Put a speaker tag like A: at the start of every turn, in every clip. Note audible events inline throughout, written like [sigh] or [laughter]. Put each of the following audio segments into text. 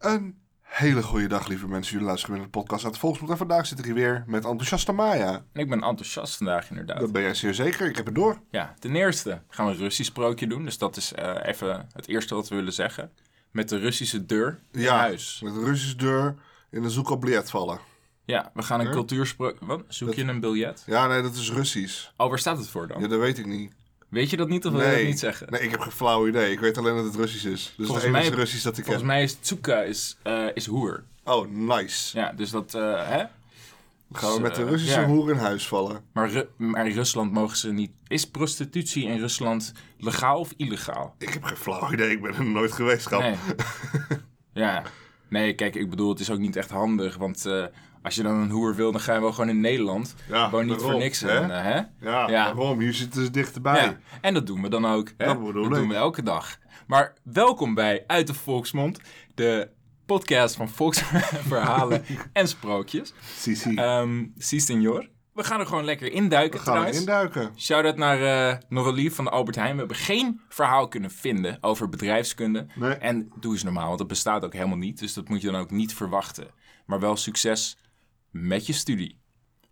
A: Een hele goede dag, lieve mensen. Jullie luisteren weer naar de podcast uit de Volksmond. En vandaag zit ik hier weer met enthousiaste Maya.
B: En ik ben enthousiast vandaag inderdaad.
A: Dat ben jij zeer zeker. Ik heb het door.
B: Ja, ten eerste gaan we een Russisch sprookje doen. Dus dat is eh, even het eerste wat we willen zeggen. Met de Russische deur in huis.
A: Met een Russische deur in een zoekoblet vallen.
B: Ja, we gaan een
A: Ja.
B: cultuursprookje... Wat? Zoek je een biljet?
A: Ja, nee, dat is Russisch.
B: Oh, waar staat het voor dan?
A: Ja, dat weet ik niet.
B: Weet je dat niet of wil je
A: nee.
B: dat niet zeggen?
A: Nee, ik heb geen flauw idee. Ik weet alleen dat het Russisch is. Dus
B: Volgens
A: het enige
B: mij-
A: Russisch dat ik
B: Volgens
A: ken.
B: mij is Tsuka is, eh, is hoer.
A: Oh, nice.
B: Ja, dus dat... eh, hè?
A: Gaan we
B: Dus,
A: met de
B: eh,
A: Russische
B: ja.
A: hoer in huis vallen?
B: Maar, Ru- maar in Rusland mogen ze niet... Is prostitutie in Rusland legaal of illegaal?
A: Ik heb geen flauw idee. Ik ben er nooit geweest, grap.
B: Nee.
A: [laughs]
B: ja. Nee, kijk, ik bedoel, het is ook niet echt handig. Want eh, als je dan een hoer wil, dan ga je wel gewoon in Nederland.
A: Ja,
B: gewoon niet voor
A: daarom,
B: niks.
A: hè?
B: En, eh, hè?
A: Ja,
B: Ja.
A: waarom? Hier zitten ze dichterbij.
B: Ja. En dat doen we dan ook. Hè?
A: Dat bedoel ik.
B: doen we elke dag. Maar welkom bij Uit de Volksmond, de podcast van [laughs] volksverhalen en sprookjes.
A: Sisi.
B: Ehm si, senor. We gaan er gewoon lekker induiken
A: we gaan er
B: trouwens.
A: induiken.
B: Shout-out naar eh Noralie van de Albert Heijn. We hebben geen verhaal kunnen vinden over bedrijfskunde.
A: Nee.
B: En doe eens normaal, want dat bestaat ook helemaal niet. Dus dat moet je dan ook niet verwachten. Maar wel succes met je studie.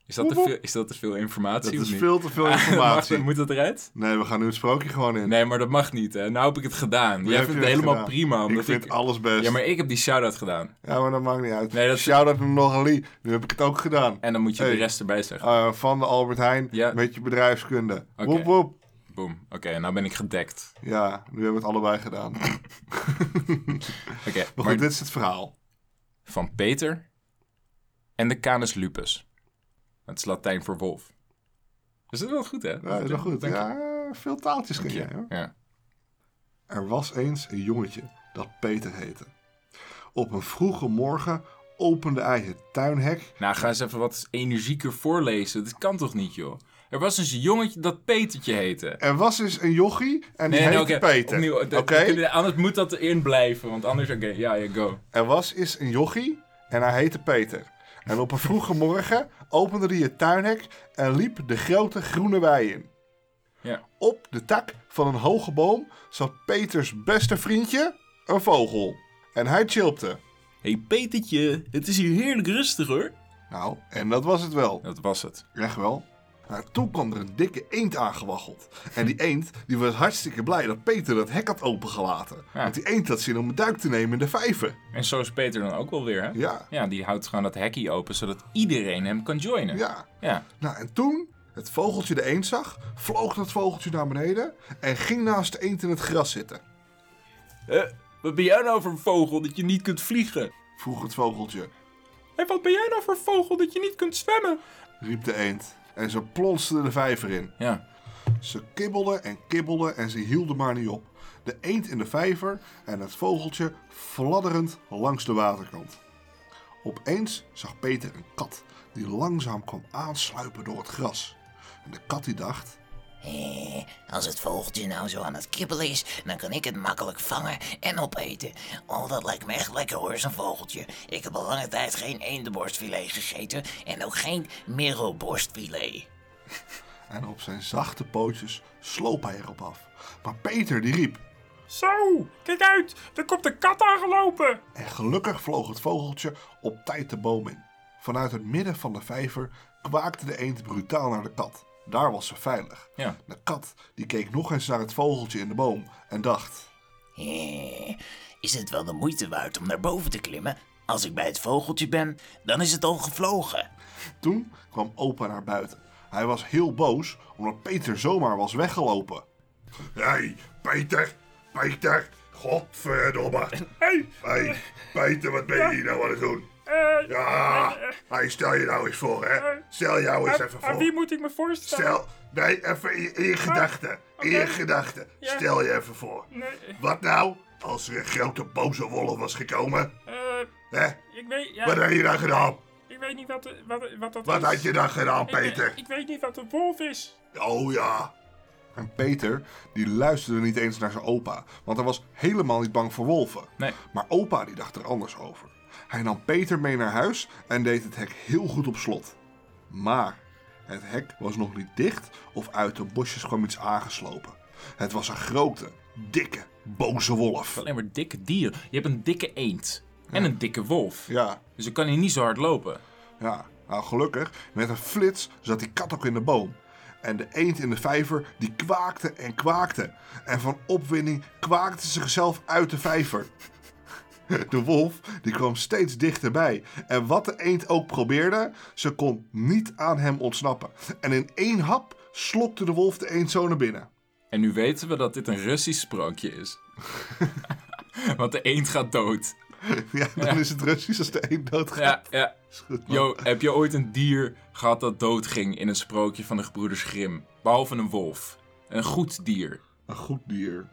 B: Is dat, te,
A: Woep,
B: veel, is dat te veel informatie?
A: Dat
B: of
A: is
B: niet?
A: veel te
B: [laughs]
A: veel
B: Mag
A: informatie.
B: dat- moet dat eruit?
A: Nee, we gaan nu het sprookje gewoon in.
B: Nee, maar dat mag niet. Hè? Nou heb ik het gedaan. Jij
A: heb
B: vindt
A: je
B: het
A: het
B: helemaal
A: gedaan.
B: prima.
A: ik
B: Omdat
A: vind
B: ik...
A: alles best.
B: Ja, maar ik heb die shout-out gedaan.
A: dat maakt niet uit.
B: Nee, dat-
A: Shout-out naar Noralie. Nu heb ik het ook gedaan.
B: En dan moet je
A: Hey.
B: de rest erbij zeggen.
A: Eh, van de Albert Heijn
B: Ja.
A: met je bedrijfskunde. Woep woep.
B: Boom. Oké, nou ben ik gedekt.
A: Ja, nu hebben we het allebei gedaan. Maar
B: Oké,
A: [laughs] goed,
B: maar
A: dit is het verhaal.
B: van Peter en de Canis lupus. Dat is Latijn voor wolf. Is dat wel goed, hè?
A: Ja, is wel goed.
B: Dank je.
A: Ja, veel taaltjes kun jij. hoor.
B: Ja.
A: Er was eens een jongetje dat Peter heette. Op een vroege morgen opende hij het tuinhek
B: Nou, ga eens even wat energieker voorlezen. Dat kan toch niet, joh? Er was dus een jongetje dat Petertje heette.
A: Er was dus een jochie en die heette
B: oké,
A: Peter.
B: opnieuw.
A: Oké?
B: Dat- dat- Anders moet dat erin blijven, want anders... Oké, ja, ja, go.
A: Er was eens een jochie en hij heette Peter. En op een vroege morgen opende hij het tuinhek en liep de grote groene wei in.
B: Ja.
A: Op de tak van een hoge boom zat Peters beste vriendje, een vogel. En hij chilpte.
B: hey, Petertje, het is hier heerlijk rustig, hoor.
A: Nou, en dat was het wel.
B: Dat was het.
A: Echt wel. Maar toen kwam er een dikke eend aangewaggeld. En die eend die was hartstikke blij dat Peter dat hek had opengelaten.
B: Ja.
A: Want die eend had zin om een duik te nemen in de vijver.
B: En zo is Peter dan ook wel weer, hè?
A: Ja,
B: Ja, die houdt gewoon dat hekje open, zodat iedereen hem kan joinen.
A: ja.
B: ja.
A: Nou, en toen het vogeltje de eend zag, vloog dat vogeltje naar beneden en ging naast de eend in het gras zitten.
B: Eh, wat ben jij nou voor een vogel dat je niet kunt vliegen?
A: Vroeg het vogeltje,
B: Hé, wat ben jij nou voor vogel dat je niet kunt zwemmen?
A: riep de eend. En ze plonste de vijver in.
B: Ja,
A: Ze kibbelden en kibbelden en ze hielden maar niet op. De eend in de vijver en het vogeltje fladderend langs de waterkant. Opeens zag Peter een kat die langzaam kwam aansluipen door het gras. En de kat die dacht,
C: Eh, Als het vogeltje nou zo aan het kibbelen is, dan kan ik het makkelijk vangen en opeten. Oh, dat lijkt me echt lekker hoor, zo'n vogeltje. Ik heb al lange tijd geen eendenborstfilet gegeten en ook geen merelborstfilet.
A: en op zijn zachte pootjes sloop hij erop af. Maar Peter die riep,
D: Zo, kijk uit, er komt een kat aangelopen.
A: En gelukkig vloog het vogeltje op tijd de boom in. Vanuit het midden van de vijver kwaakte de eend brutaal naar de kat. Daar was ze veilig.
B: Ja.
A: De kat die keek nog eens naar het vogeltje in de boom en dacht...
C: Eh, Is het wel de moeite waard om naar boven te klimmen? Als ik bij het vogeltje ben, dan is het al gevlogen.
A: Toen kwam opa naar buiten. Hij was heel boos omdat Peter zomaar was weggelopen. Hé, Peter! Peter! Godverdomme!
D: Hé,
A: Hé, Peter, wat ben je hier nou aan het doen?
D: eh,
A: Ja, hey, stel je nou eens voor, hè? Stel jou eens
D: aan, aan wie moet ik me voorstellen?
A: Stel, nee, even in, in je gedachten. In je
D: oké.
A: gedachten.
D: Ja.
A: Stel je even voor.
D: Nee,
A: Wat nou als er een grote boze wolf was gekomen?
D: eh,
A: Hè?
D: ik weet, ja,
A: Wat had je dan gedaan?
D: ik weet niet wat, de- wat, eh, wat dat
A: Wat
D: is.
A: had je dan gedaan,
D: Ik weet-
A: Peter?
D: Ik, weet niet wat een wolf is.
A: Oh ja. En Peter, die luisterde niet eens naar zijn opa, want hij was helemaal niet bang voor wolven.
B: nee.
A: Maar opa die dacht er anders over. Hij nam Peter mee naar huis en deed het hek heel goed op slot. Maar het hek was nog niet dicht of uit de bosjes kwam iets aangeslopen. Het was een grote, dikke, boze wolf.
B: Alleen maar dikke dieren. Je hebt een dikke eend. En een dikke wolf.
A: Ja,
B: Dus dan kan hij niet zo hard lopen.
A: ja. Nou, gelukkig, met een flits zat die kat ook in de boom. En de eend in de vijver, die kwaakte en kwaakte. En van opwinding kwaakte ze zichzelf uit de vijver. [laughs] De wolf, die kwam steeds dichterbij. En wat de eend ook probeerde, ze kon niet aan hem ontsnappen. En in één hap slokte de wolf de eend zo naar binnen. [laughs]
B: En nu weten we dat dit een Russisch sprookje is. [laughs] Want de eend gaat dood.
A: Ja, dan is het Russisch als de een doodgaat.
B: Ja, ja.
A: Is goed, man.
B: Yo, heb je ooit een dier gehad dat doodging in een sprookje van de gebroeders Grim? Behalve een wolf. Een goed dier.
A: Een goed dier.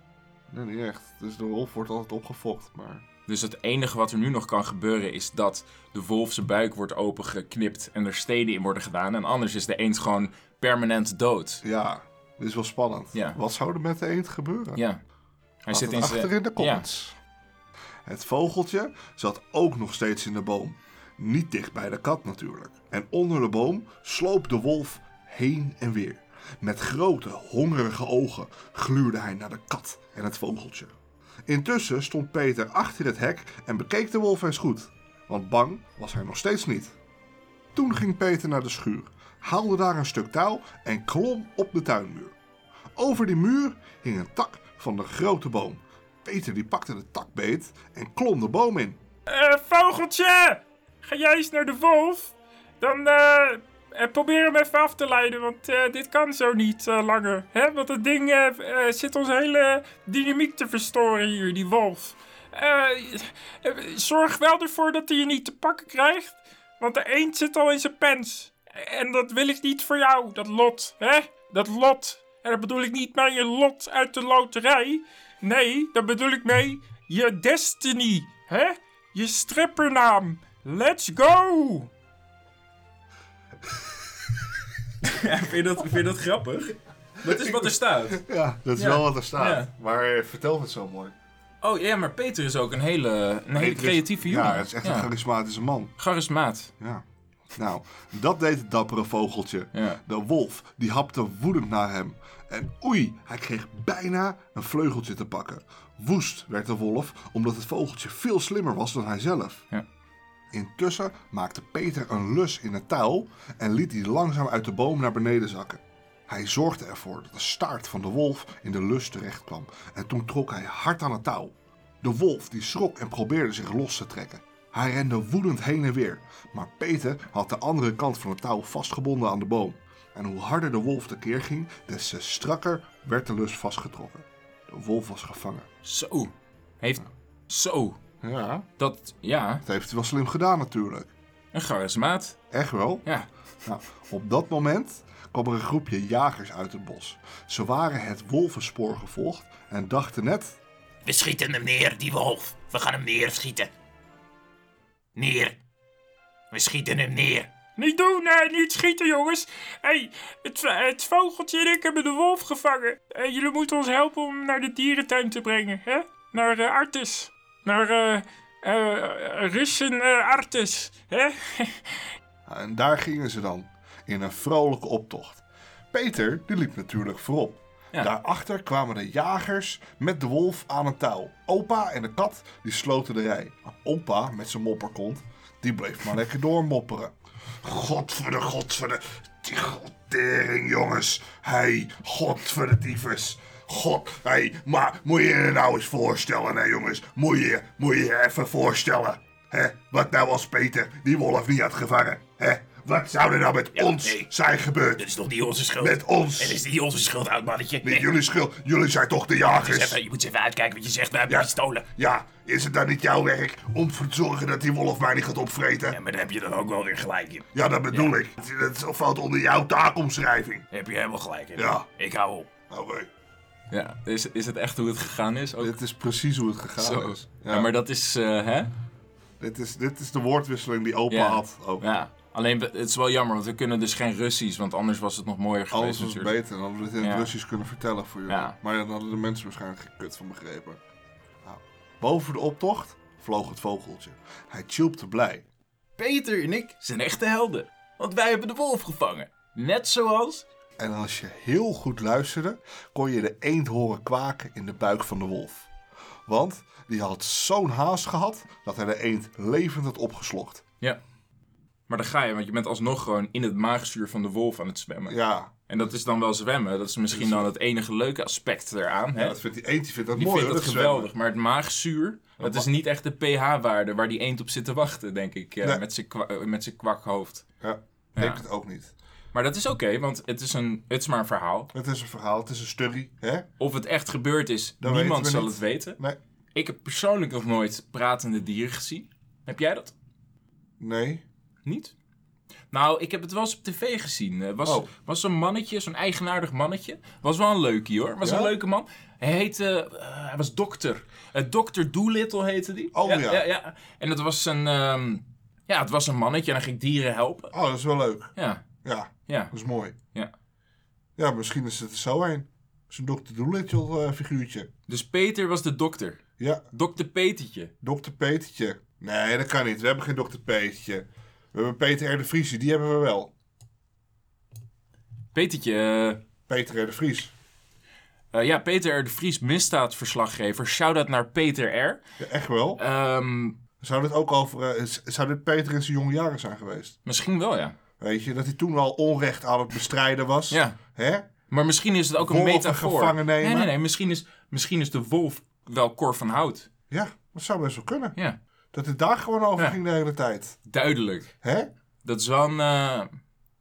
A: Nee, niet echt. Dus de wolf wordt altijd opgefokt, maar...
B: Dus het enige wat er nu nog kan gebeuren is dat de wolf zijn buik wordt opengeknipt en er steden in worden gedaan. En anders is de eend gewoon permanent dood.
A: Ja, dit is wel spannend.
B: Ja.
A: Wat zou er met de eend gebeuren?
B: Ja. Hij
A: Laat
B: zit
A: het
B: in zijn...
A: achter in de comments. Het vogeltje zat ook nog steeds in de boom. Niet dicht bij de kat natuurlijk. En onder de boom sloop de wolf heen en weer. Met grote, hongerige ogen gluurde hij naar de kat en het vogeltje. Intussen stond Peter achter het hek en bekeek de wolf eens goed. Want bang was hij nog steeds niet. Toen ging Peter naar de schuur, haalde daar een stuk touw en klom op de tuinmuur. Over die muur hing een tak van de grote boom. Peter die pakte de tak beet en klom de boom in.
D: Eh, vogeltje! Ga jij eens naar de wolf? Dan eh, eh, probeer hem even af te leiden, want eh, dit kan zo niet eh, langer. Hè? Want dat ding eh, eh, zit onze hele dynamiek te verstoren hier, die wolf. Eh, eh, zorg wel ervoor dat hij je niet te pakken krijgt, want de eend zit al in zijn pens. En dat wil ik niet voor jou, dat lot, hè? Dat lot. En dat bedoel ik niet maar je lot uit de loterij. Nee, daar bedoel ik mee je destiny, hè? Je strippernaam. Let's
B: [laughs]
D: go!
B: vind, je dat, vind je dat grappig? Dat is wat er staat.
A: Ja, dat is
B: Ja.
A: wel wat er staat.
B: Ja.
A: Maar eh, vertel het zo mooi.
B: Oh ja, maar Peter is ook een hele, een hele
A: Peter is-
B: creatieve jongen.
A: Ja, het is echt een charismatische man.
B: Charismaat.
A: Ja. Nou, dat deed het dappere vogeltje.
B: Ja.
A: De wolf die hapte woedend naar hem. En oei, hij kreeg bijna een vleugeltje te pakken. Woest werd de wolf, omdat het vogeltje veel slimmer was dan hij zelf.
B: Ja.
A: Intussen maakte Peter een lus in het touw en liet die langzaam uit de boom naar beneden zakken. Hij zorgde ervoor dat de staart van de wolf in de lus terecht kwam en toen trok hij hard aan het touw. De wolf die schrok en probeerde zich los te trekken. Hij rende woedend heen en weer, maar Peter had de andere kant van het touw vastgebonden aan de boom. En hoe harder de wolf tekeer ging, des te strakker werd de lus vastgetrokken. De wolf was gevangen.
B: Zo. Heeft... Zo.
A: Ja.
B: Dat... Ja.
A: Dat heeft hij wel slim gedaan natuurlijk.
B: Een charismaat.
A: Echt wel?
B: Ja.
A: Nou, op dat moment kwam er een groepje jagers uit het bos. Ze waren het wolvenspoor gevolgd en dachten net...
C: We schieten hem neer, die wolf. We gaan hem neerschieten. Neer. We schieten hem neer.
D: Niet doen, hè, niet schieten, jongens. Hé, hey, het, het vogeltje en ik hebben de wolf gevangen. Eh, jullie moeten ons helpen om hem naar de dierentuin te brengen, hè? Naar eh, Artis. Naar eh eh Russen eh, Artis, hè? [laughs]
A: En daar gingen ze dan, in een vrolijke optocht. Peter, die liep natuurlijk voorop.
B: Ja.
A: Daarachter kwamen de jagers met de wolf aan een touw. Opa en de kat, die sloten de rij. Maar Opa, met zijn mopperkont, die bleef maar lekker doormopperen. Godverde, godverde, die godtering jongens. Hey, godverde tyfus. God, hey, maar moet je je nou eens voorstellen, hè jongens? Moet je moet je je even voorstellen. Hè? Wat nou als Peter die wolf niet had gevangen? Hè? Wat zou er nou met ons
C: nee.
A: zijn gebeurd?
C: Dat is toch niet onze schuld?
A: Met ons.
C: Het is niet onze schuld, oud mannetje.
A: Nee,
C: Nee,
A: jullie schuld. Jullie zijn toch de
C: dus
A: jagers?
C: even- je moet eens even uitkijken wat je zegt. We hebben
A: Ja.
C: pistolen.
A: Ja, is het dan niet jouw werk om ervoor te zorgen dat die wolf mij niet gaat
C: Ja,
A: opvreten?
C: maar daar heb je dan ook wel weer gelijk in.
A: Ja, dat bedoel ik. Dat valt onder jouw taakomschrijving.
C: Daar heb je helemaal gelijk in.
A: Ja.
C: Ik hou op.
A: Oké.
B: Ja. Is, is het echt hoe het gegaan is? Ook
A: Dit is precies hoe het gegaan
B: zo.
A: is.
B: Ja. maar dat is... eh, hè?
A: Dit, is dit is de woordwisseling die opa
B: Ja.
A: had. Ook.
B: Ja. Alleen, we- het is wel jammer, want we kunnen dus geen Russisch, want anders was het nog mooier geweest
A: Alles was
B: natuurlijk.
A: beter. Dan hadden we dit in het
B: Ja.
A: Russisch kunnen vertellen voor jullie.
B: Ja.
A: Maar ja, dan hadden de mensen waarschijnlijk geen kut van begrepen. Nou, boven de optocht vloog het vogeltje. Hij chilpte blij.
B: Peter en ik zijn echte helden, want wij hebben de wolf gevangen. Net zoals...
A: En als je heel goed luisterde, kon je de eend horen kwaken in de buik van de wolf. Want die had zo'n haast gehad dat hij de eend levend had opgeslokt.
B: Ja. Maar daar ga je, want je bent alsnog gewoon in het maagzuur van de wolf aan het zwemmen.
A: Ja,
B: En dat is dan wel zwemmen. Dat is misschien dan het enige leuke aspect eraan. Hè?
A: dat vindt die eend die vindt dat
B: Die
A: mooi.
B: vindt
A: hoor,
B: dat
A: zwemmen.
B: geweldig. Maar het maagzuur, dat is niet echt de pH-waarde waar die eend op zit te wachten, denk ik. eh,
A: Nee.
B: Met zijn kwa- eh, met zijn kwakhoofd.
A: Ja, denk
B: Ja.
A: het ook niet.
B: Maar dat is oké, want het is, een, het is maar een verhaal.
A: Het is een verhaal, het is een sturrie. Hè?
B: Of het echt gebeurd is,
A: Dat
B: niemand
A: weten we
B: zal
A: niet.
B: het weten.
A: Nee.
B: Ik heb persoonlijk nog nooit pratende dieren gezien. Heb jij dat?
A: Nee.
B: Niet? Nou, ik heb het wel eens op tv gezien. Het was,
A: Oh.
B: was zo'n mannetje, zo'n eigenaardig mannetje. Was wel een leukie hoor. Was
A: Ja?
B: een leuke man. Hij heette, eh, hij was dokter. Eh dokter Doolittle heette die.
A: Oh, ja.
B: ja, En dat was een, ehm, ja, het was een mannetje en hij ging dieren helpen.
A: Oh, dat is wel leuk.
B: Ja,
A: Ja,
B: ja.
A: dat is mooi.
B: Ja.
A: Ja, misschien is het er zo een. Zo'n Dr. Doolittle eh, figuurtje.
B: Dus Peter was de dokter.
A: Ja,
B: Dokter Petertje.
A: Dr. Petertje. Nee, dat kan niet. We hebben geen Dr. Petertje. We hebben Peter R. de Vries, die hebben we wel.
B: Petertje, eh,
A: Peter R. de Vries.
B: eh, ja, Peter R. de Vries, misdaadverslaggever. Shout-out naar Peter R.
A: Ja, echt wel.
B: Ehm,
A: Zou dit ook over. eh, z- zou dit Peter in zijn jonge jaren zijn geweest?
B: misschien wel, ja.
A: Weet je, dat hij toen al onrecht aan het bestrijden was.
B: Ja.
A: Hè?
B: Maar misschien is het ook een
A: Wolven
B: metafoor.
A: gevangen nemen.
B: Nee, nee, nee. Misschien is, misschien is de wolf wel Cor van Hout.
A: Ja, dat zou best wel kunnen.
B: Ja,
A: Dat het daar gewoon over
B: Ja.
A: ging de hele tijd.
B: duidelijk.
A: Hè?
B: Dat is wel een... eh,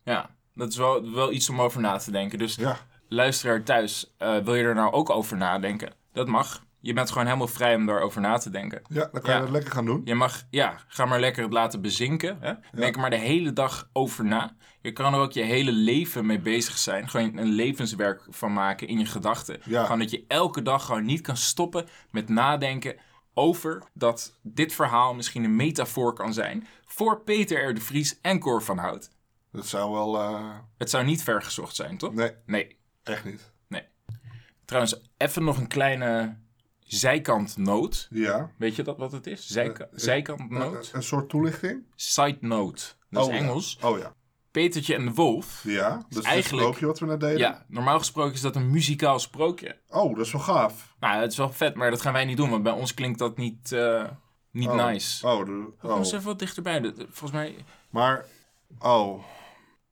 B: ja, dat is wel, wel iets om over na te denken. Dus
A: Ja.
B: luisteraar thuis, eh, wil je er nou ook over nadenken? Dat mag. Je bent gewoon helemaal vrij om daarover na te denken.
A: Ja, dan kan
B: Ja.
A: je dat lekker gaan doen.
B: Je mag, ja, ga maar lekker het laten bezinken. Hè? Denk er maar de hele dag over na. Je kan er ook je hele leven mee bezig zijn. Gewoon een levenswerk van maken in je gedachten.
A: Ja.
B: Gewoon dat je elke dag gewoon niet kan stoppen met nadenken over dat dit verhaal misschien een metafoor kan zijn voor Peter R. de Vries en Cor van Hout.
A: Dat zou wel. eh,
B: Het zou niet vergezocht zijn, toch?
A: Nee,
B: Nee.
A: echt niet.
B: Trouwens, even nog een kleine zijkantnoot.
A: Ja.
B: Weet je dat wat het is? Zijka-
A: Eh,
B: zijkantnoot?
A: Een, een soort toelichting?
B: Side note. Dat
A: Oh,
B: is
A: ja.
B: Engels.
A: Oh ja.
B: Petertje en de Wolf.
A: Ja, dat is
B: Eigenlijk-
A: het sprookje wat we net deden.
B: Ja, normaal gesproken is dat een muzikaal sprookje.
A: Oh, dat is wel gaaf.
B: Nou, het is wel vet, maar dat gaan wij niet doen, want bij ons klinkt dat niet, eh, niet
A: Oh.
B: nice.
A: Oh, de-
B: Kom eens
A: oh.
B: even wat dichterbij. Dat- dat- Volgens mij.
A: Maar, oh.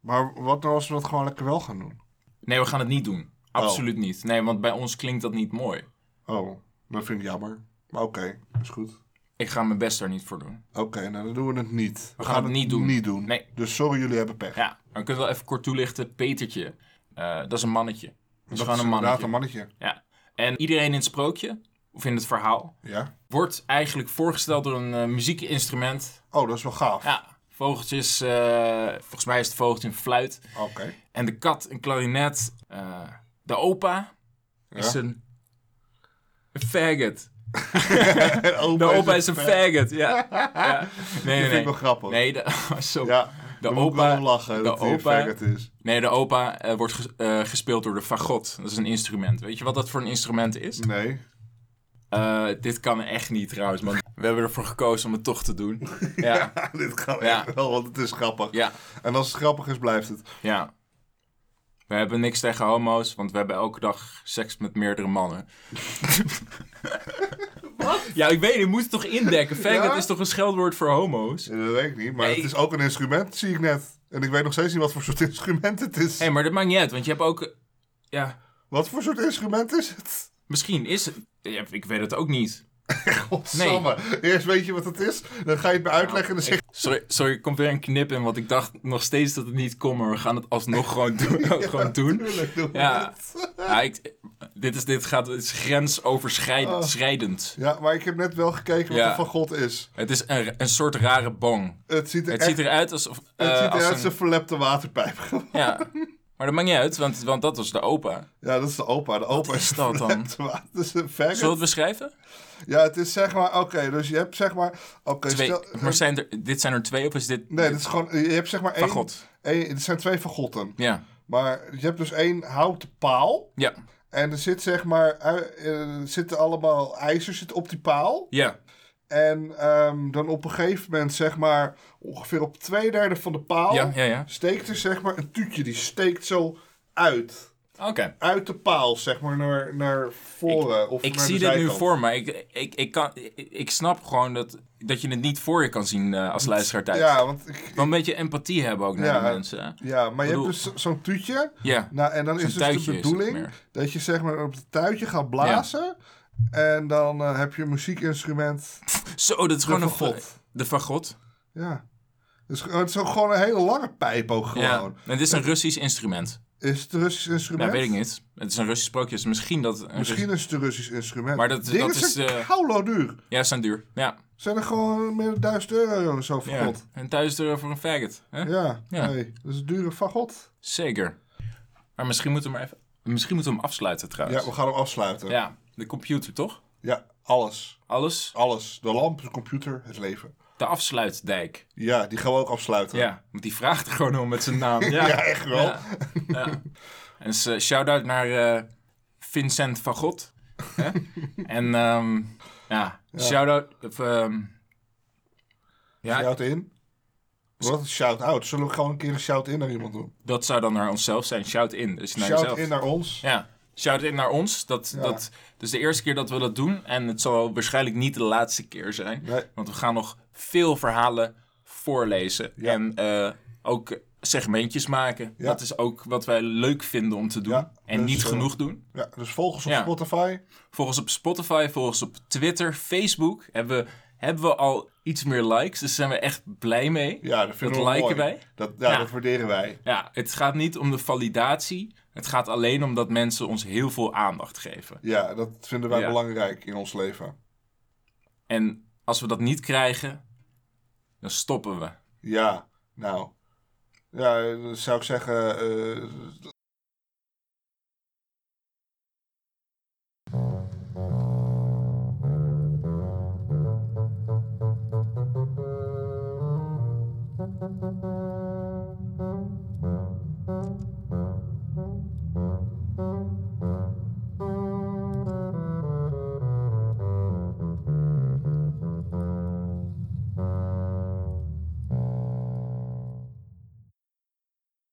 A: Maar wat nou als we dat gewoon lekker wel gaan doen?
B: Nee, we gaan het niet doen. Absoluut niet. Nee, want bij ons klinkt dat niet mooi.
A: Oh, dat vind ik jammer. Maar oké, is goed.
B: Ik ga mijn best daar niet voor doen.
A: Oké, nou dan doen we het niet. We,
B: gaan het niet doen.
A: Niet doen.
B: Nee.
A: Dus sorry, jullie hebben pech.
B: Ja, maar we kunnen wel even kort toelichten. Petertje, eh, dat is een mannetje. Dat is gewoon een
A: inderdaad
B: mannetje.
A: een mannetje.
B: Ja. En iedereen in het sprookje, of in het verhaal,
A: Ja.
B: wordt eigenlijk voorgesteld door een eh, muziekinstrument.
A: Oh, dat is wel gaaf.
B: Ja, vogeltjes, eh, volgens mij is het vogeltje een fluit.
A: Oké.
B: En de kat een klarinet. eh, de opa is
A: Ja.
B: een... een faggot.
A: De
B: De opa is een faggot,
A: [laughs]
B: ja. ja. Nee,
A: vind
B: nee,
A: ik
B: nee.
A: wel grappig.
B: Nee, de, [laughs] oh, zo.
A: Ja,
B: de
A: daar moet ik
B: opa-
A: wel om lachen
B: de
A: dat hij een
B: opa-
A: faggot is.
B: nee, de opa eh, wordt ges- eh, gespeeld door de fagot. Dat is een instrument. Weet je wat dat voor een instrument is?
A: Nee. [laughs]
B: Eh, dit kan echt niet trouwens, man. We hebben ervoor gekozen om het toch te doen.
A: [laughs]
B: Ja,
A: Dit kan
B: Ja.
A: echt wel, want het is grappig.
B: ja,
A: En als het grappig is, blijft het.
B: ja. We hebben niks tegen homo's, want we hebben elke dag seks met meerdere
A: [laughs]
B: mannen. Wat? Ja, ik weet, je moet het toch indekken. Faggot
A: Ja?
B: is toch een scheldwoord voor homo's? Hé,
A: Dat weet ik niet, maar
B: Nee.
A: het is ook een instrument, zie ik net. En ik weet nog steeds niet wat voor soort [laughs] instrument het is.
B: maar dat maakt niet uit, want je hebt ook... Ja,
A: Wat voor soort instrument is het?
B: misschien is het... Ja, ik weet het ook niet.
A: Godsamme. Oh, Eerst weet je wat het is, dan ga je het me uitleggen en dan zeg je...
B: Sorry, sorry, er komt weer een knip in, want ik dacht nog steeds dat het niet kon, maar we gaan het alsnog gewoon
A: [laughs]
B: doen. gewoon doen.
A: Tuurlijk doen we
B: Ja.
A: het.
B: Ja, ik, dit, is, dit gaat het is grensoverschrijdend.
A: ja, maar ik heb net wel gekeken wat
B: Ja.
A: er van God is.
B: Het is een, een soort rare bong.
A: Het ziet er
B: Het
A: echt...
B: ziet eruit alsof.
A: het
B: eh,
A: ziet
B: als
A: eruit als
B: een-
A: een verlepte waterpijp. [laughs]
B: Ja, maar dat maakt niet uit, want, want dat was de opa.
A: Ja, dat is de opa. De opa is
B: is dat dan?
A: verlepte water. Dat is een faggot.
B: Zullen we het beschrijven?
A: Ja, het is zeg maar... Oké, dus je hebt zeg maar... Oké,
B: Twee.
A: stel...
B: Maar zijn er, dit zijn er twee of is dit.
A: Nee, dat is gewoon... Je hebt zeg maar één...
B: God.
A: één- Het zijn twee fagotten.
B: Ja.
A: Maar je hebt dus één houten paal.
B: Ja.
A: En er zit zeg maar... eh, eh, Er zitten allemaal ijzers zitten op die paal.
B: Ja.
A: En ehm, dan op een gegeven moment, zeg maar, ongeveer op twee derde van de paal,
B: Ja, ja, ja.
A: steekt er zeg maar een tuutje. Die steekt zo uit.
B: Oké.
A: uit de paal, zeg maar, naar, naar voren. of
B: Ik
A: naar
B: zie
A: de
B: dit nu
A: zijkant.
B: voor me. Ik, ik, ik, kan, ik, ik snap gewoon dat, dat je het niet voor je kan zien eh, als luisteraar thuis.
A: Ja, want ik,
B: Wel een beetje empathie hebben ook naar
A: Ja.
B: die mensen. hè?
A: ja, maar je hebt
B: bedoel-
A: dus zo- zo'n tuutje.
B: Ja.
A: Nou, en dan
B: Zo'n
A: is dus
B: tuitje
A: de
B: is het
A: bedoeling
B: meer.
A: dat je zeg maar op het tuitje gaat blazen. En dan eh, heb je een muziekinstrument.
B: Zo, dat is gewoon een...
A: fagot.
B: fa- De fagot.
A: Ja. Dus, het is ook gewoon een hele lange pijp ook
B: Ja.
A: gewoon.
B: En dit is een Russisch instrument.
A: Is het een Russisch instrument?
B: Ja, weet ik niet. Het is een Russisch sprookje. Dus misschien dat... een
A: Misschien is het een Russisch instrument.
B: Maar dat-
A: Dingen
B: dat is,
A: zijn
B: eh,
A: koulo duur.
B: Ja, ze zijn duur. Ja.
A: Zijn er gewoon meer dan 1000 euro of zo
B: ja.
A: verkot.
B: En thuis er voor een faggot. Hè?
A: Ja,
B: Ja.
A: nee. Dat is een dure fagot.
B: Zeker. Maar misschien moeten we maar even... Misschien moeten we hem afsluiten trouwens.
A: Ja, we gaan hem afsluiten.
B: Ja, de computer toch?
A: Ja, alles.
B: Alles.
A: Alles. De lamp, de computer, het leven.
B: De afsluitdijk.
A: Ja, die gaan we ook afsluiten.
B: Ja, want die vraagt er gewoon om met zijn naam. Ja,
A: [laughs] Ja, echt wel.
B: Ja. Ja. En dus, eh, shout-out naar eh, Vincent van God.
A: [laughs]
B: Hè? en ehm, ja, shout-out... of, ehm, ja,
A: Shout in. Wat een shout-out. Zullen we gewoon een keer een shout-in naar iemand doen?
B: dat zou dan naar onszelf zijn. Shout-in. Dus naar jezelf.
A: Shout-in naar ons.
B: Ja, shout-in naar ons. Dat, dat, dus de eerste keer dat we dat doen. En het zal waarschijnlijk niet de laatste keer zijn.
A: Nee.
B: Want we gaan nog veel verhalen voorlezen.
A: Ja.
B: En eh, ook segmentjes maken.
A: Ja.
B: Dat is ook wat wij leuk vinden om te doen.
A: Ja,
B: en
A: dus,
B: niet
A: eh,
B: genoeg doen.
A: Ja, dus volg ons op
B: Ja.
A: Spotify.
B: Volgens op Spotify, volgens op Twitter, Facebook hebben we, hebben we al iets meer likes. Dus daar zijn we echt blij mee.
A: Ja, dat vinden
B: Dat
A: we
B: liken
A: mooi.
B: wij.
A: Dat, ja,
B: Ja.
A: dat waarderen wij.
B: Ja, het gaat niet om de validatie. Het gaat alleen om dat mensen ons heel veel aandacht geven.
A: Ja, dat vinden wij
B: Ja.
A: belangrijk in ons leven.
B: En als we dat niet krijgen, dan stoppen we.
A: Ja, nou. Ja, dan zou ik zeggen, eh,